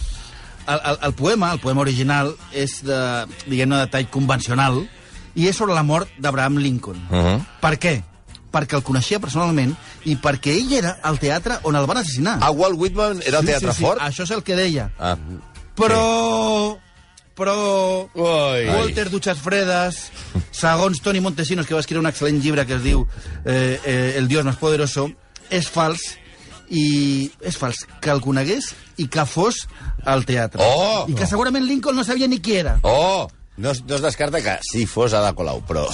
Speaker 6: El, el, el poema, el poema original, és de, diguem-ne, de tall convencional i és sobre la mort d'Abraham Lincoln. Uh
Speaker 4: Mhm.
Speaker 6: Per què? Perquè el coneixia personalment i perquè ell era al teatre on el van assassinar.
Speaker 4: A Walt Whitman era el Ah, teatre fort?
Speaker 6: Això és el que deia.
Speaker 4: Ah.
Speaker 6: Però... Però...
Speaker 5: Ui.
Speaker 6: Walter Dutxas Fredes, segons Toni Montesinos, que va escriure un excel·lent llibre que es diu eh, eh, El dios más poderoso, és fals i és fals que el conegués i que fos al teatre.
Speaker 4: Oh!
Speaker 6: I que segurament Lincoln no sabia ni qui era.
Speaker 4: Oh!
Speaker 5: No, es- no es descarta que si fos Ada Colau, [laughs] però...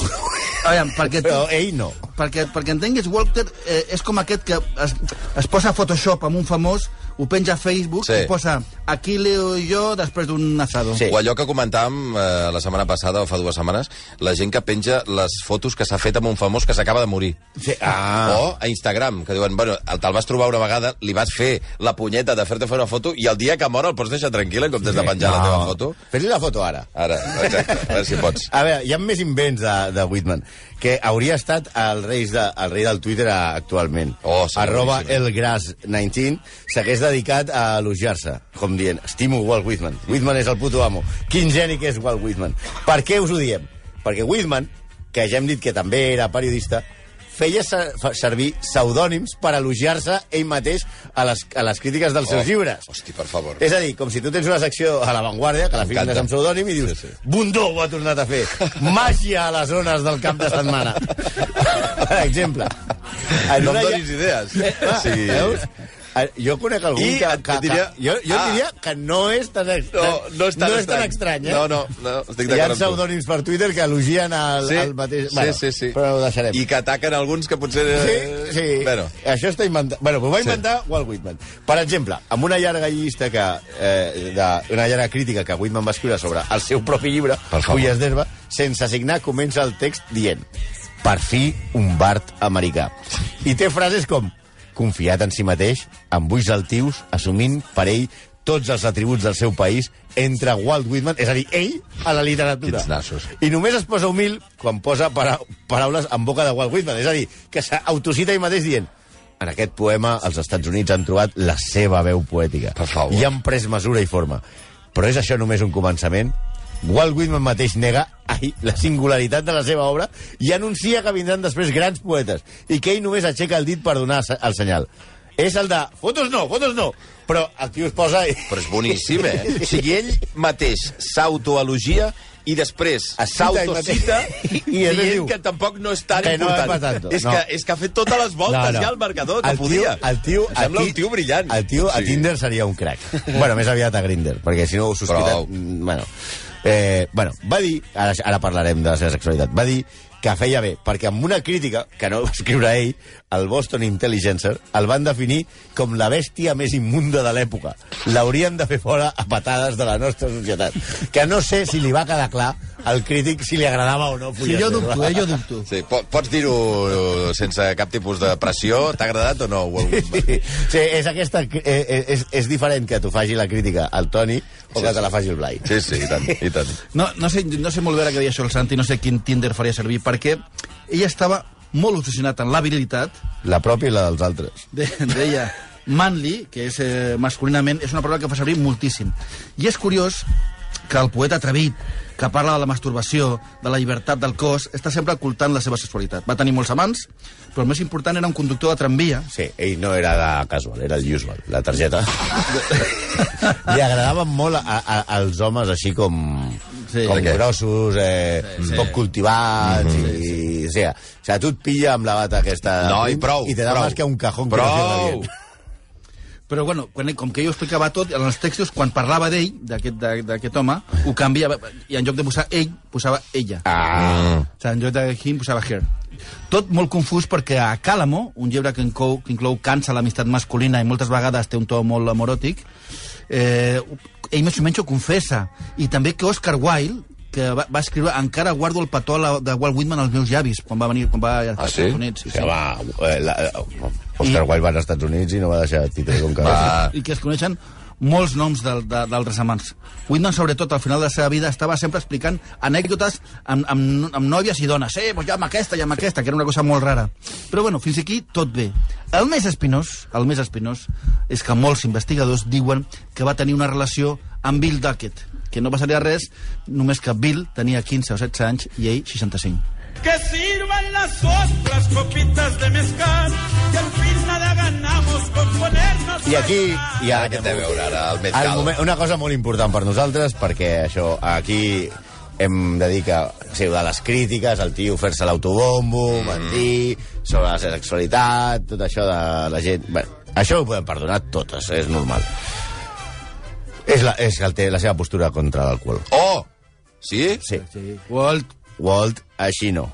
Speaker 6: A veure, perquè,
Speaker 4: [laughs]
Speaker 6: tu,
Speaker 5: però ell no.
Speaker 6: perquè, perquè entenguis, Walter eh, és com aquest que es, es posa a Photoshop amb un famós, ho penja a Facebook
Speaker 4: Sí.
Speaker 6: i posa aquí leo jo després d'un asado.
Speaker 5: Sí.
Speaker 4: O allò que comentàvem eh, la setmana passada o fa dues setmanes, la gent que penja les fotos que s'ha fet amb un famós que s'acaba de morir.
Speaker 5: Sí, ah.
Speaker 4: O a Instagram, que diuen, bueno, el- te'l vas trobar una vegada, li vas fer la punyeta de fer-te fer una foto i el dia que mor el pots deixar tranquil en comptes de penjar la teva foto.
Speaker 5: Fes-li la foto ara.
Speaker 4: Ara, exacte, a veure si pots.
Speaker 5: A veure, hi ha més invents de, de Whitman, que hauria estat el rei, de, el rei del Twitter a- actualment.
Speaker 4: Oh, sí,
Speaker 5: Arroba
Speaker 4: boníssim.
Speaker 5: elgras19 s'hagués dedicat a elogiar-se, com dient, estimo Walt Whitman, Whitman és el puto amo, quin geni que és Walt Whitman. Per què us ho diem? Perquè Whitman, que ja hem dit que també era periodista, feia ser, fa- servir pseudònims per elogiar-se ell mateix a les, a les crítiques dels
Speaker 4: Oh,
Speaker 5: seus llibres.
Speaker 4: Hosti, per favor.
Speaker 5: És a dir, com si tu tens una secció a l'avantguàrdia, que la
Speaker 4: M'encanta.
Speaker 5: fiques amb pseudònim i dius
Speaker 4: Sí,
Speaker 5: sí,
Speaker 4: sí.
Speaker 5: sí. Bundó ho ha tornat a fer. Màgia a les zones del cap de setmana. per exemple. En
Speaker 4: No em
Speaker 5: una ja-
Speaker 4: donis idees.
Speaker 5: Eh, clar,
Speaker 4: O sigui,
Speaker 5: veus? Eh, Jo conec algú
Speaker 4: I
Speaker 5: que,
Speaker 4: et- et
Speaker 5: que,
Speaker 4: diria-
Speaker 5: que... Jo, jo
Speaker 4: Ah.
Speaker 5: ah, diria que no és tan, ex-
Speaker 4: No, no és tan
Speaker 5: no és tan
Speaker 4: estrany.
Speaker 5: estrany, eh?
Speaker 4: No, no, no, estic
Speaker 5: Hi ha
Speaker 4: d'acord amb tu.
Speaker 5: pseudònims per Twitter que elogien al,
Speaker 4: Sí,
Speaker 5: al mateix...
Speaker 4: sí, sí, sí.
Speaker 5: Però ho deixarem.
Speaker 4: I que ataquen alguns que potser... eh,
Speaker 5: Sí, sí.
Speaker 4: Bueno,
Speaker 5: Això està inventat. Bueno, ho va
Speaker 4: Sí.
Speaker 5: inventar sí. Walt Whitman. Per exemple, amb una llarga llista que... Eh, de, una llarga crítica que Whitman va escriure sobre el seu propi llibre,
Speaker 4: Per favor.
Speaker 5: Fulles d'herba, sense signar, comença el text dient per fi un Bart americà. I té frases com confiat en si mateix, amb ulls altius, assumint per ell tots els atributs del seu país, entre Walt Whitman, és a dir, ell, a la literatura.
Speaker 4: Quins nassos.
Speaker 5: I només es posa humil quan posa para paraules en boca de Walt Whitman. És a dir, que s'autocita ell mateix dient en aquest poema els Estats Units han trobat la seva veu poètica.
Speaker 4: Per favor.
Speaker 5: I han pres mesura i forma. Però és això només un començament? Walt Whitman mateix nega ai, la singularitat de la seva obra i anuncia que vindran després grans poetes i que ell només aixeca el dit per donar se- el senyal. És el de... Fotos no, fotos no! Però el tio es posa... i-
Speaker 4: però és boníssim, eh? O sigui, ell mateix s'autoelogia i després
Speaker 5: Es cita ell mateix.
Speaker 4: s'autocita
Speaker 5: [laughs] I
Speaker 4: dient
Speaker 5: després diu,
Speaker 4: que tampoc no és tan
Speaker 5: "Que no va
Speaker 4: important.
Speaker 5: per tanto",
Speaker 4: és,
Speaker 5: no.
Speaker 4: que, és que ha fet totes les voltes no, no. ja al marcador, que
Speaker 5: el
Speaker 4: podia.
Speaker 5: Tio, el tio,
Speaker 4: Em Sembla
Speaker 5: ti-
Speaker 4: un tio brillant.
Speaker 5: El tio a Tinder seria un crac. bueno, més aviat a Grindr, perquè si no ho
Speaker 4: Prou.
Speaker 5: sospitat... mm, Bueno, eh, bueno, va dir... Ara, ara parlarem de la seva sexualitat. Va dir que feia bé, perquè amb una crítica, que no va escriure ell, el Boston Intelligencer el van definir com la bèstia més immunda de l'època. L'haurien de fer fora a patades de la nostra societat. Que no sé si li va quedar clar al crític si li agradava o no.
Speaker 6: Sí,
Speaker 5: Fullerton.
Speaker 6: jo dubto, eh, jo dubto.
Speaker 4: Sí, po- pots dir-ho sense cap tipus de pressió? T'ha agradat o no? Walt-
Speaker 5: [laughs] Sí, sí, és, aquesta, eh, és, és diferent que t'ho faci la crítica al Toni
Speaker 4: Sí,
Speaker 5: o que
Speaker 4: sí.
Speaker 5: te la faci el Blai.
Speaker 4: Sí, sí, i tant, i tant.
Speaker 6: No, no, sé, no sé molt bé ara què deia això el Santi, no sé quin Tinder faria servir, perquè ella estava molt obsessionat en la virilitat,
Speaker 5: La pròpia i la dels altres.
Speaker 6: de, deia manly, que és eh, masculinament, és una paraula que fa servir moltíssim. I és curiós que el poeta atrevit, que parla de la masturbació, de la llibertat del cos, està sempre ocultant la seva sexualitat. Va tenir molts amants, però el més important era un conductor de tramvia.
Speaker 5: Sí, ell no era de casual, era el usual, la
Speaker 4: [laughs]
Speaker 5: targeta. Li agradaven molt a, a, als homes així com,
Speaker 6: Sí.
Speaker 5: sí, com
Speaker 6: Perquè-
Speaker 5: grossos, eh, sí, sí. poc cultivats, mm -hmm. i, o, sigui, o sigui, tu et pilla amb la bata aquesta...
Speaker 4: Mhm. No, i prou,
Speaker 5: I te da
Speaker 4: prou.
Speaker 5: més que un cajón.
Speaker 4: Prou!
Speaker 5: Que
Speaker 6: Però, bueno, quan, com que ell ho explicava tot, en els textos, quan parlava d'ell, d'aquest de- d'aquest home, ho canviava, i en lloc de posar ell, posava ella.
Speaker 4: Ah.
Speaker 6: O sigui, en lloc de him posava her. Tot molt confús perquè a Càlamo, un llibre que inclou, que inclou cansa l'amistat masculina i moltes vegades té un to molt amoròtic, eh, ell més o menys ho confessa. I també que Oscar Wilde, que va, va escriure Encara guardo el petó a la- de Walt Whitman als meus llavis, quan va venir quan va als
Speaker 4: Ah, sí?
Speaker 6: Estats Units.
Speaker 5: sí, va, eh, la, eh, Oscar
Speaker 6: I-
Speaker 5: Wilde va als Estats Units i no va deixar titre com que...
Speaker 4: Va.
Speaker 6: i que es coneixen molts noms del- de- d'altres amants. Whitman, sobretot, al final de la seva vida, estava sempre explicant anècdotes amb, amb, amb nòvies i dones. Eh, pues ja amb aquesta, ja amb aquesta, que era una cosa molt rara. Però, bueno, fins aquí tot bé. El més espinós, el més espinós, és que molts investigadors diuen que va tenir una relació amb Bill Duckett, que no passaria res, només que Bill tenia 15 o 16 anys i ell 65.
Speaker 7: Que sirvan las otras copitas de mezcal, que al fin nada ganamos con ponernos
Speaker 5: I
Speaker 7: a
Speaker 5: aquí
Speaker 7: llorar.
Speaker 5: hi ha...
Speaker 4: Ara què té a veure ara el
Speaker 5: Al
Speaker 4: Metcal?
Speaker 5: moment, una cosa molt important per nosaltres, perquè això, aquí hem de dir que, o sigui, de les crítiques, el tio fer-se l'autobombo, mentir, sobre la sexualitat, tot això de la gent... Bé, això ho podem perdonar totes, és normal. És la, és el té, la seva postura contra l'alcohol.
Speaker 4: Oh! Sí?
Speaker 5: Sí.
Speaker 6: Walt,
Speaker 5: Walt, així no.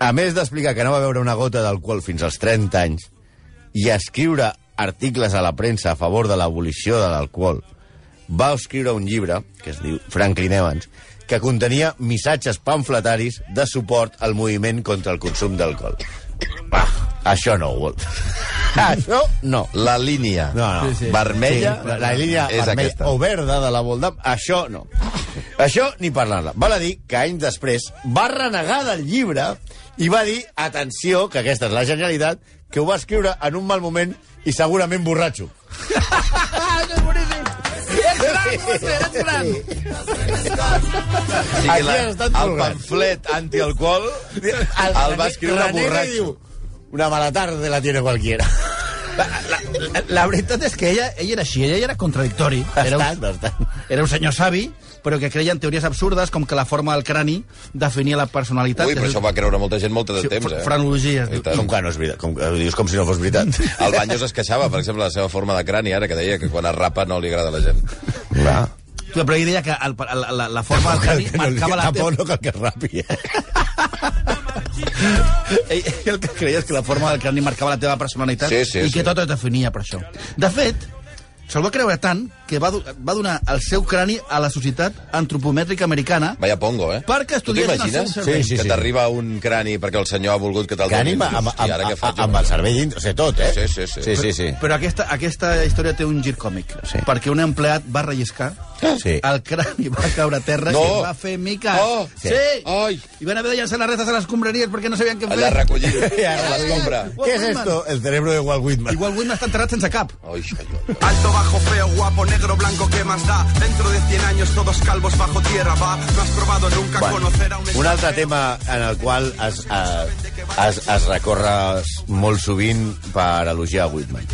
Speaker 5: A més d'explicar que no va veure una gota d'alcohol fins als 30 anys i escriure articles a la premsa a favor de l'abolició de l'alcohol, va escriure un llibre, que es diu Franklin Evans, que contenia missatges pamfletaris de suport al moviment contra el consum d'alcohol. Ah, això no, Walt. [laughs] això no.
Speaker 4: La línia
Speaker 5: No, no.
Speaker 4: Sí, sí. vermella
Speaker 5: Sí, la, la línia
Speaker 4: és
Speaker 5: vermella
Speaker 4: aquesta.
Speaker 5: o verda de la Voldam, això no. Això ni parlar-la. Val a dir que anys després va renegar del llibre i va dir, atenció, que aquesta és la genialitat, que ho va escriure en un mal moment i segurament
Speaker 4: [laughs]
Speaker 5: borratxo.
Speaker 4: O sigui,
Speaker 5: Aquí
Speaker 4: la,
Speaker 5: has estat
Speaker 4: el
Speaker 5: colgat.
Speaker 4: pamflet antialcohol el, el va escriure
Speaker 5: renega i
Speaker 4: borratxo.
Speaker 5: diu, Una mala tarde la tiene cualquiera.
Speaker 6: La, la, la, la veritat és que ella, ella era així, ella era contradictori. Era
Speaker 5: Bastant,
Speaker 6: un,
Speaker 5: bastant.
Speaker 6: era un senyor savi, però que creia en teories absurdes com que la forma del crani definia la personalitat.
Speaker 4: Ui, però això va creure molta gent molt de
Speaker 6: Sí,
Speaker 4: temps, eh?
Speaker 6: frenologies.
Speaker 4: I tant.
Speaker 5: Com que no és veritat, com que ho dius com si no fos veritat. [laughs]
Speaker 4: El Baños es queixava, per exemple, de la seva forma de crani, ara, que deia que quan es rapa no li agrada a la gent.
Speaker 5: Va.
Speaker 6: Tu, però ell deia que el, la, la, la forma del crani marcava la teva...
Speaker 5: Tampoc no cal que ràpid, eh?
Speaker 6: Ell, ell el que creia és que la forma del crani marcava la teva personalitat
Speaker 4: Sí, sí,
Speaker 6: i que
Speaker 4: sí.
Speaker 6: tot es definia per això. De fet, se'l va creure tant que va, do- va donar el seu crani a la Societat Antropomètrica Americana
Speaker 4: Vaya pongo, eh?
Speaker 6: perquè
Speaker 4: Tu t'ho
Speaker 6: estudiessin el seu
Speaker 4: imagines?
Speaker 6: cervell.
Speaker 5: Sí, sí,
Speaker 4: que
Speaker 5: sí.
Speaker 4: t'arriba un crani perquè el senyor ha volgut que te'l
Speaker 5: Que
Speaker 4: donin.
Speaker 5: ànima amb,
Speaker 4: Hòstia,
Speaker 5: amb,
Speaker 4: ara què
Speaker 5: amb,
Speaker 4: faig?
Speaker 5: amb el cervell dintre, o sigui, tot, eh?
Speaker 4: Sí, sí, sí.
Speaker 5: Sí, sí, sí.
Speaker 6: Però aquesta, aquesta història té un gir còmic,
Speaker 5: Sí.
Speaker 6: sí. perquè un empleat va relliscar,
Speaker 5: Ah, Sí.
Speaker 6: el crani va caure a terra
Speaker 4: No.
Speaker 6: no. i es va fer miques.
Speaker 4: Oh,
Speaker 6: sí.
Speaker 4: sí.
Speaker 6: sí.
Speaker 4: Ai.
Speaker 6: I van haver de llançar les restes a les escombraries perquè no sabien què fer.
Speaker 4: Allà recollint, a
Speaker 5: Ja, Ah, sí.
Speaker 4: l'escombra.
Speaker 5: ¿Qué es esto? El cerebro de Walt Whitman.
Speaker 6: Igual Whitman està enterrat sense cap.
Speaker 4: Ai, ai, ai.
Speaker 2: Alto, bajo, feo, guapo, negro, blanco, ¿qué más da? Dentro de 100 años todos calvos bajo tierra va. No has probado nunca
Speaker 5: Bueno,
Speaker 2: conocer a un
Speaker 5: un altre tema en el qual es, eh, es, es recorre molt sovint per elogiar Whitman,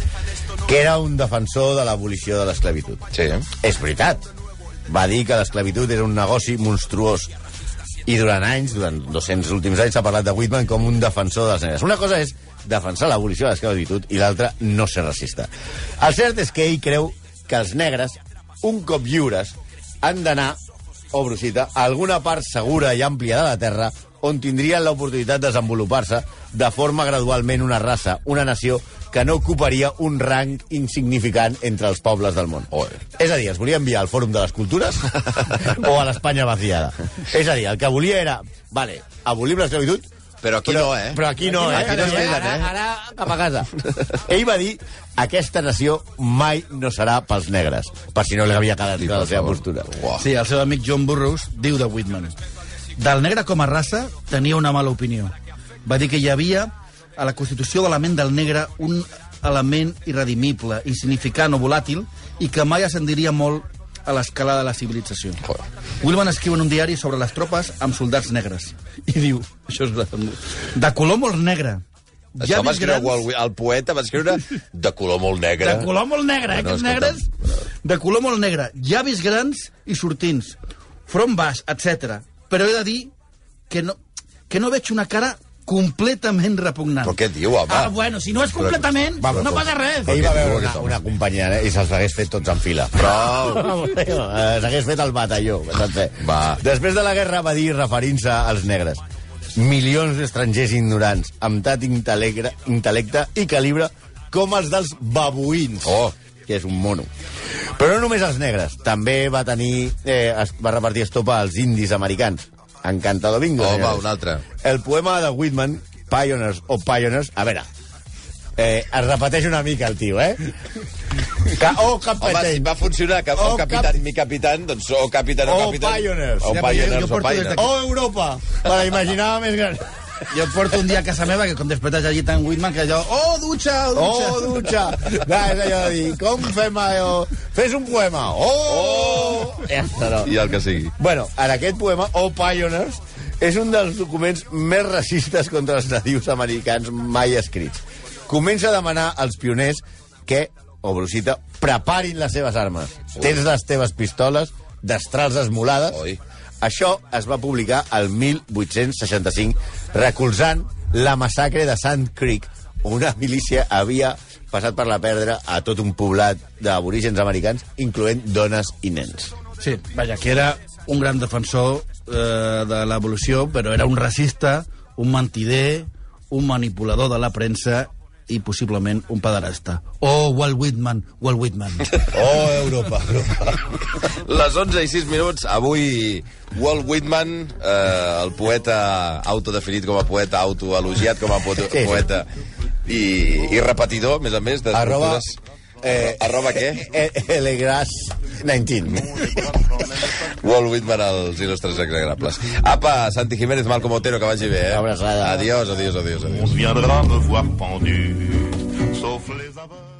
Speaker 5: que era un defensor de l'abolició de l'esclavitud.
Speaker 4: Sí. eh?
Speaker 5: És veritat. Va dir que l'esclavitud era un negoci monstruós. I durant anys, durant 200 últims anys, s'ha parlat de Whitman com un defensor de les negres. Una cosa és defensar l'abolició de l'esclavitud i l'altra no ser racista. El cert és que ell creu que els negres, un cop lliures, han d'anar, o brusita, a alguna part segura i àmplia de la terra on tindrien l'oportunitat de desenvolupar-se de forma gradualment una raça, una nació que no ocuparia un rang insignificant entre els pobles del món.
Speaker 4: Oi.
Speaker 5: És a dir, es volia enviar al Fòrum de les Cultures o a l'Espanya vaciada. És a dir, el que volia era... Vale, abolim l'esclavitud,
Speaker 4: Però aquí no, eh?
Speaker 5: Però aquí no, eh?
Speaker 4: Aquí no és veritat, eh?
Speaker 5: Ara, ara cap a casa. Ell va dir, aquesta nació mai no serà pels negres, per si no li havia quedat clara la seva postura.
Speaker 4: Uah.
Speaker 6: Sí, el seu amic John Burroughs diu de Whitman. Del negre com a raça tenia una mala opinió. Va dir que hi havia a la constitució de la ment del negre un element irredimible, insignificant o volàtil i que mai ascendiria molt a l'escala de la civilització.
Speaker 4: Joder.
Speaker 6: Wilman escriu en un diari sobre les tropes amb soldats negres. I diu, això és de, de color molt negre.
Speaker 4: Això
Speaker 6: Ja
Speaker 4: va
Speaker 6: vist
Speaker 4: escriure
Speaker 6: grans-
Speaker 4: Walt Whit- el poeta, va escriure de color molt negre.
Speaker 6: de color molt negre, eh,
Speaker 4: Bueno,
Speaker 6: aquests
Speaker 4: escolta'm.
Speaker 6: negres. De color molt negre. Llavis grans i sortints. Front baix, etc. Però he de dir que no, que no veig una cara completament repugnant.
Speaker 4: Però què diu, home?
Speaker 6: Ah, bueno, si no és completament,
Speaker 4: Va, però
Speaker 6: no
Speaker 4: com-
Speaker 6: passa res.
Speaker 5: Ell va
Speaker 4: Aquest
Speaker 5: veure
Speaker 4: duro que
Speaker 5: una,
Speaker 4: som.
Speaker 5: una companyia eh, i se'ls hagués fet tots en fila. [laughs] Prou! Eh, S'hagués fet el batalló. que saps fer.
Speaker 4: Va.
Speaker 5: Després de la guerra va dir, referint-se als negres, milions d'estrangers ignorants, amb tant intel·lecte, intel·lecte i calibre com els dels babuïns.
Speaker 4: Oh.
Speaker 5: que és un mono. Però no només els negres, també va tenir... Eh, es, va repartir estopa als indis americans. Encantado bingo.
Speaker 4: Home,
Speaker 5: senyores.
Speaker 4: un altre.
Speaker 5: El poema de Whitman, Pioneers o Pioneers... A veure, eh, es repeteix una mica el tio, eh? oh, Ca o
Speaker 4: Home, si
Speaker 5: Capetent.
Speaker 4: va funcionar
Speaker 6: Oh,
Speaker 4: que
Speaker 5: O
Speaker 4: o capitán, mi capitán, doncs o capitán o
Speaker 5: O
Speaker 4: capitán.
Speaker 5: Oh, pioneers.
Speaker 4: O
Speaker 5: Ja,
Speaker 6: jo
Speaker 4: Oh, pioneers o
Speaker 6: porto des
Speaker 4: pioneers.
Speaker 6: d'aquí.
Speaker 5: O Oh, Europa, me la imaginava més gran.
Speaker 6: Jo et porto un dia a casa meva, que com després de llegir tant Whitman, que allò... Oh, dutxa, oh, dutxa.
Speaker 5: Oh, dutxa! No, és allò de dir, com fem allò? Fes un poema. Oh! oh! Ja està, no.
Speaker 4: I el que sigui.
Speaker 5: Bueno, en aquest poema, O Pioneers, és un dels documents més racistes contra els nadius americans mai escrits. Comença a demanar als pioners que, o brusita, preparin les seves armes. Tens les teves pistoles, destrals esmolades...
Speaker 4: Ui.
Speaker 5: Això es va publicar el 1865, recolzant la massacre de Sand Creek, on una milícia havia passat per la perdre a tot un poblat d'aborígens americans, incloent dones i nens.
Speaker 6: Sí, vaja, que era un gran defensor eh, de l'evolució, però era un racista, un mentider, un manipulador de la premsa i possiblement un pederasta. Oh, Walt Whitman, Walt Whitman.
Speaker 5: Oh, Europa, Europa.
Speaker 4: Les 11 i 6 minuts, avui Walt Whitman, eh, el poeta autodefinit com a poeta, autoelogiat com a poeta,
Speaker 5: Sí, sí.
Speaker 4: poeta i, i repetidor, a més a més, de
Speaker 5: Arroba...
Speaker 4: Eh, arroba què?
Speaker 5: Elegras 19.
Speaker 4: Walt Whitman als il·lustres exagrables. Apa, Santi Jiménez, Malcom Otero, que vagi bé, eh?
Speaker 5: Una abraçada.
Speaker 4: Adiós, adiós, adiós, adiós.
Speaker 3: On viendra me voir pendu, sauf les aveugles.